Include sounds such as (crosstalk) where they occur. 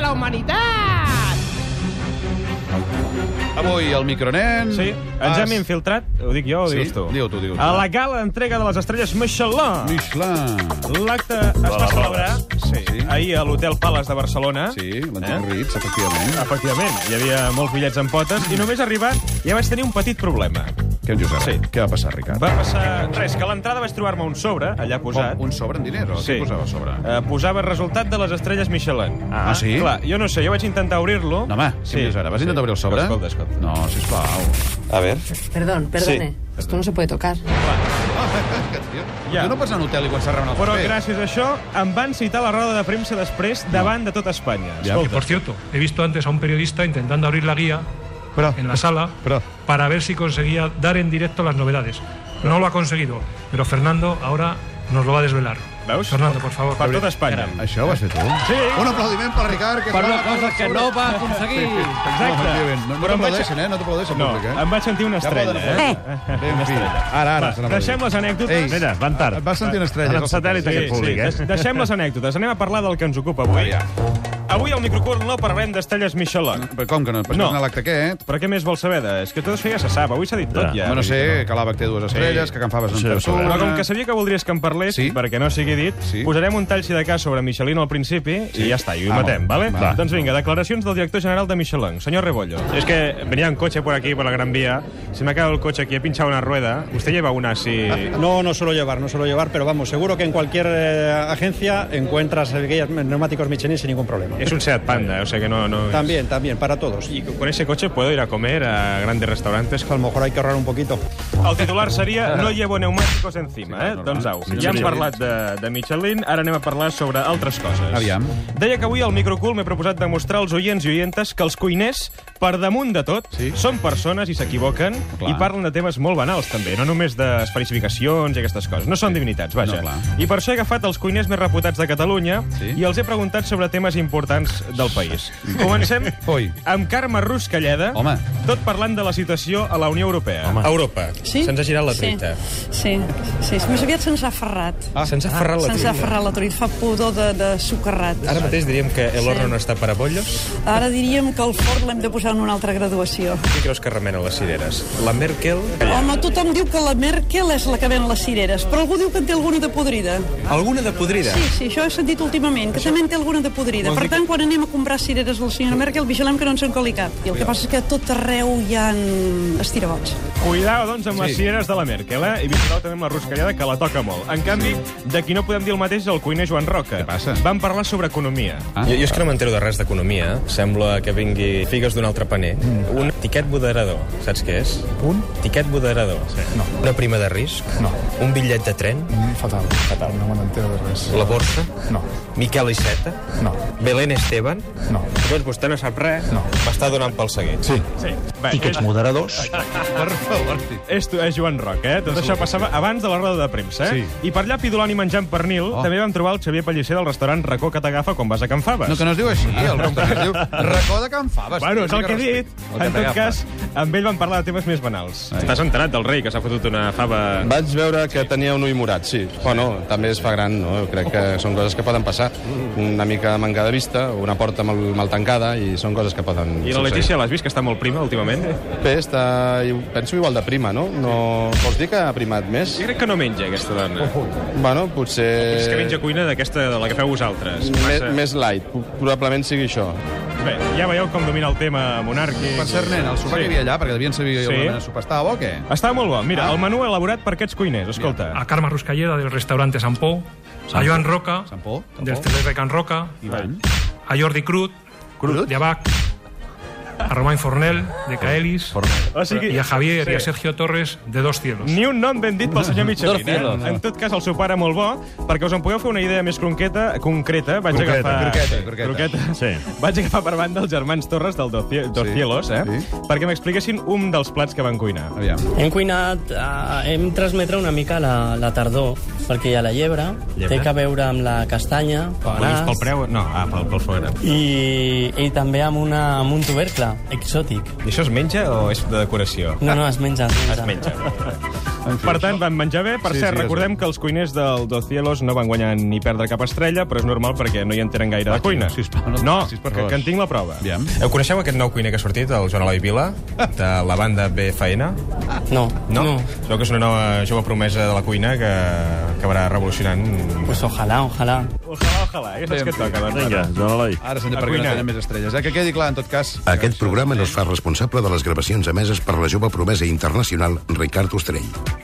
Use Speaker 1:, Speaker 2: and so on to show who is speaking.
Speaker 1: la humanitat!
Speaker 2: Avui el micronen...
Speaker 3: Sí, ens hem infiltrat, ho dic jo o
Speaker 2: Sí?
Speaker 3: dius tu?
Speaker 2: Diu tu, diu tu.
Speaker 3: A la gala entrega de les estrelles Michelin.
Speaker 2: Michelin.
Speaker 3: L'acte es va celebrar sí,
Speaker 2: Sí.
Speaker 3: ahir a l'Hotel Palace de Barcelona. Eh?
Speaker 2: Sí, l'Antic Ritz,
Speaker 3: Ah.
Speaker 2: efectivament.
Speaker 3: Efectivament, hi havia molts bitllets en potes i només arribar ja vaig tenir un petit problema.
Speaker 2: Què en dius ara?
Speaker 3: Sí.
Speaker 2: Què va passar, Ricard?
Speaker 3: Va passar... Res, que a l'entrada vaig trobar-me un sobre, allà posat.
Speaker 2: Com, un sobre en diners, o què posava a sobre?
Speaker 3: Eh, posava resultat de les estrelles Michelin.
Speaker 2: Ah, sí?
Speaker 3: Clar, jo no sé, jo vaig intentar obrir-lo.
Speaker 2: No, home, sí. què em dius ara? Vas intentar obrir el sobre?
Speaker 3: Escolta, escolta.
Speaker 2: No, sisplau. (laughs)
Speaker 3: A veure.
Speaker 4: Perdón, perdone. Esto no se puede tocar.
Speaker 3: Ja.
Speaker 2: Ja. Tu no pots anar a un hotel i quan s'arreben els
Speaker 3: Però
Speaker 2: papers.
Speaker 3: gràcies a això em van citar a la roda de premsa després davant de tota Espanya.
Speaker 2: Ja,
Speaker 3: Escolta.
Speaker 5: Por cierto, he visto antes a un periodista intentando abrir la guía
Speaker 2: Però,
Speaker 5: en la sala
Speaker 2: Pero-
Speaker 5: para ver si conseguía dar en directo las novedades. No lo ha conseguido, pero Fernando ahora nos lo va a desvelar.
Speaker 3: Veus?
Speaker 5: Fernando, por favor.
Speaker 3: Per
Speaker 5: que
Speaker 3: tota
Speaker 5: ve.
Speaker 3: Espanya.
Speaker 2: això ho vas fer tu?
Speaker 3: Sí.
Speaker 2: Un aplaudiment per Ricard. Que
Speaker 6: Per
Speaker 2: es va
Speaker 6: una
Speaker 2: agafar
Speaker 6: cosa
Speaker 2: el
Speaker 6: que
Speaker 2: sobre.
Speaker 6: no va aconseguir.
Speaker 2: No,
Speaker 3: Exacte.
Speaker 2: efectivament. no, no
Speaker 3: Però em vaig-
Speaker 2: t'aplaudeixen, eh? No t'aplaudeixen,
Speaker 3: No,
Speaker 2: públic, eh?
Speaker 3: em vaig sentir una
Speaker 2: Ja poden
Speaker 3: estrella,
Speaker 2: aplaudir.
Speaker 3: eh?
Speaker 2: Bé, en fi. Ara, ara. se n'ha
Speaker 3: Deixem
Speaker 2: perdut.
Speaker 3: les anècdotes.
Speaker 2: Ei,
Speaker 7: Mira, van tard.
Speaker 2: Et vas sentir una estrella.
Speaker 7: Anem
Speaker 2: és el
Speaker 7: satèl·lit,
Speaker 2: que
Speaker 7: aquest
Speaker 2: passa.
Speaker 7: públic, eh?
Speaker 2: (laughs)
Speaker 3: Des- Deixem les anècdotes, anem a parlar del que ens ocupa avui.
Speaker 2: Vaja.
Speaker 3: Avui al microcurt no parlem d'estrelles Michelin.
Speaker 2: Però com que no? Però
Speaker 3: No.
Speaker 2: no. anar a l'acte aquest?
Speaker 3: Però què més vols saber? De... És que tot això ja se sap, avui s'ha dit tot ja.
Speaker 2: Ja, no sé, que l'àbac té dues estrelles,
Speaker 3: Sí.
Speaker 2: que Can Faves en
Speaker 7: Sí,
Speaker 2: té
Speaker 7: ho sabrem.
Speaker 2: una.
Speaker 3: Però com que sabia que voldries que en parlés,
Speaker 2: Eh, Sí.
Speaker 3: perquè no sigui dit,
Speaker 2: Sí.
Speaker 3: posarem un tall si de cas sobre Michelin al principi
Speaker 2: Sí.
Speaker 3: i ja està, i ho
Speaker 2: Ah,
Speaker 3: matem,
Speaker 2: va.
Speaker 3: vale?
Speaker 2: Va.
Speaker 3: Doncs vinga, declaracions del director general de Michelin, senyor Rebollo. Es que venía en coche por aquí, por la Gran Vía, se me ha quedado el coche aquí, he pinchado una rueda, usted lleva una así...
Speaker 8: No, no suelo llevar, no suelo llevar, pero vamos, seguro que en cualquier eh, agencia encuentras eh, guías neumáticos Michelin sin ningún problema.
Speaker 3: Es un Seat Panda, o sea que no... no
Speaker 8: También, también, para todos.
Speaker 3: Y con ese coche puedo ir a comer a grandes restaurantes.
Speaker 8: A lo mejor hay que ahorrar un poquito.
Speaker 3: El titular seria No llevo pneumàticos encima, eh?
Speaker 2: normal.
Speaker 3: Doncs au,
Speaker 2: Ah. Sí,
Speaker 3: ja hem
Speaker 2: sí.
Speaker 3: parlat de, de Michelin, ara anem a parlar sobre altres coses.
Speaker 2: Aviam.
Speaker 3: Deia que avui al Microcool m'he proposat demostrar als oients i oientes que els cuiners, per damunt de tot,
Speaker 2: Sí.
Speaker 3: són persones i s'equivoquen
Speaker 2: Clar.
Speaker 3: i parlen de temes molt banals, també, no només d'especificacions i aquestes coses. No són divinitats, vaja.
Speaker 2: No, clar.
Speaker 3: I per això he agafat els cuiners més reputats de Catalunya
Speaker 2: Sí.
Speaker 3: i els he preguntat sobre temes importants del país.
Speaker 2: (laughs)
Speaker 3: Comencem
Speaker 2: Oi.
Speaker 3: amb Carme Ruscalleda,
Speaker 2: Home.
Speaker 3: tot parlant de la situació a la Unió Europea. Home.
Speaker 9: Europa.
Speaker 4: Sí?
Speaker 9: Se'ns ha girat la
Speaker 4: Sí.
Speaker 9: truita.
Speaker 4: Sí, sí, sí. més aviat se'ns ha aferrat.
Speaker 9: Ah. Se'ns ha ferrat la
Speaker 4: Se'ns
Speaker 9: truita.
Speaker 4: ha aferrat la truita, fa pudor de, de sucarrat.
Speaker 9: Ara mateix diríem que el horno
Speaker 4: Sí.
Speaker 9: no està para bollos.
Speaker 4: Ara diríem que el forn l'hem de posar en una altra graduació.
Speaker 9: Qui creus que remena les cireres? La Merkel?
Speaker 4: Home, tothom diu que la Merkel és la que ven les cireres, però algú diu que en té alguna de podrida.
Speaker 9: Alguna de podrida?
Speaker 4: Sí, sí, això he sentit últimament, que també en té alguna de podrida. Per tant, quan anem a comprar cireres a la senyora Merkel, vigilem que no ens en coli cap. I el que passa és que a tot arreu hi ha estirabots.
Speaker 3: Cuidao, doncs, amb sí. les cireres de la Merkel, eh? I vigileu també amb la ruscallada, que la toca molt. En canvi, sí. de qui no podem dir el mateix és el cuiner Joan Roca.
Speaker 2: Què passa?
Speaker 3: Van parlar sobre economia.
Speaker 2: Ah.
Speaker 9: Jo, jo és que no m'entero de res d'economia. eh? Sembla que vingui figues d'un altre paner.
Speaker 3: Mm.
Speaker 9: Un tiquet moderador, saps què és? Un? Tiquet moderador. Sí. No. Una prima de risc? No. Un bitllet de tren?
Speaker 10: Fatal. Fatal. No me n'entero de res.
Speaker 9: La borsa?
Speaker 10: No.
Speaker 9: Miquel Iceta?
Speaker 10: No.
Speaker 9: Belén Esteban?
Speaker 10: No.
Speaker 9: Doncs vostè no sap res. No. M'està donant pel seguit. Sí.
Speaker 3: Sí. Bé, és,
Speaker 7: moderadors.
Speaker 2: Per favor.
Speaker 3: és, tu- és Joan Roca, eh? Tot això passava abans de la roda de premsa, eh?
Speaker 2: Sí.
Speaker 3: I per allà, pidolant i menjant pernil, oh. també vam trobar el Xavier Pellicer del restaurant Racó que t'agafa quan vas a Can Faves.
Speaker 2: No, que no es diu així, el nom que es diu Racó de Can Faves.
Speaker 3: Bueno, és el
Speaker 2: Una
Speaker 3: que he
Speaker 2: mica
Speaker 3: dit.
Speaker 2: respecte.
Speaker 3: En tot cas, amb ell van parlar de temes més banals. Estàs enterat del rei, que s'ha fotut una fava...
Speaker 11: Vaig veure que tenia un ull morat, sí. Bueno, també es fa gran, no? Jo Crec que són coses que poden passar. Una mica de manca de vista, una porta mal, mal tancada, i són coses que poden
Speaker 3: I la Letícia l'has vist, que està molt prima últimament?
Speaker 11: Bé, està, i- penso igual de prima, no? No vols dir que ha primat més?
Speaker 3: Jo crec que no menja, aquesta dona.
Speaker 11: Bueno, potser...
Speaker 3: És que menja cuina d'aquesta, de la que feu vosaltres.
Speaker 11: Més,
Speaker 3: Massa-
Speaker 11: més light, po- probablement sigui això.
Speaker 3: Bé, ja veieu com domina el tema monàrquic.
Speaker 2: Per cert, nen, el sopar que hi havia allà, perquè devien saber
Speaker 3: Sí.
Speaker 2: sí. on el sopar estava bo, o què?
Speaker 3: Estava molt bo. Mira, el menú elaborat per aquests cuiners, escolta.
Speaker 5: A Carme Ruscalleda del restaurante Sant Pou, a Joan Roca,
Speaker 2: Sant Pol?
Speaker 5: del celler de Can Roca,
Speaker 2: Ivan.
Speaker 5: a Jordi Crut,
Speaker 2: Crut?
Speaker 5: de Abac, a Romain Fornell, de Caelis,
Speaker 3: O sigui,
Speaker 5: y a Javier
Speaker 3: sí.
Speaker 5: y a Sergio Torres, de Dos Cielos.
Speaker 3: Ni un nom ben dit pel senyor Michelin, eh? En tot cas, el sopar era molt bo, perquè us en podeu fer una idea més concreta, concreta vaig
Speaker 7: Croqueta,
Speaker 3: agafar...
Speaker 2: croqueta,
Speaker 3: sí,
Speaker 2: croqueta.
Speaker 7: Sí.
Speaker 3: Vaig agafar per banda els germans Torres del Dos Cie- Dos
Speaker 2: Sí,
Speaker 3: Cielos, eh?
Speaker 2: sí.
Speaker 3: Perquè m'expliquessin un dels plats que van cuinar.
Speaker 2: Aviam.
Speaker 12: Hem cuinat, eh, hem transmetre una mica la, la tardor, perquè hi ha la llebre,
Speaker 3: Llebre?
Speaker 12: llebre? té que veure amb la castanya,
Speaker 3: Volies pel
Speaker 12: pegonàs,
Speaker 3: preu? No, ah, pel, pel forat.
Speaker 12: i, i també amb, una, amb un tubercle exòtic.
Speaker 3: I això es menja o és de decoració?
Speaker 12: No, no, es menja, es menja.
Speaker 3: Es menja.
Speaker 10: En fi,
Speaker 3: Per tant, van menjar bé. Per
Speaker 10: Sí,
Speaker 3: sí, cert,
Speaker 10: sí,
Speaker 3: sí,
Speaker 10: és
Speaker 3: recordem que els cuiners del Dos Cielos no van guanyar ni perdre cap estrella, però és normal perquè no hi entenen gaire de cuina.
Speaker 2: sisplau, no et
Speaker 3: No,
Speaker 2: facis, per
Speaker 3: que,
Speaker 2: favor.
Speaker 3: que en tinc la prova.
Speaker 2: Aviam.
Speaker 9: Eh, Coneixeu aquest nou cuiner que ha sortit, el Joan Eloi Vila, de la banda BFN?
Speaker 12: No.
Speaker 9: No?
Speaker 12: No.
Speaker 9: Es veu que és una nova jove promesa de la cuina que acabarà revolucionant...
Speaker 12: Pues ojalá, ojalá.
Speaker 3: Ojalà, ojalà. Ja saps què et toca, doncs.
Speaker 1: Vinga, dona l'oi.
Speaker 2: Ara, senyor,
Speaker 3: A
Speaker 2: perquè no
Speaker 3: cuinar.
Speaker 2: tenen més estrelles. Eh? Que quedi clar, en tot cas.
Speaker 6: Aquest programa no es fa responsable de les gravacions emeses per la jove promesa internacional Ricard Ostrell.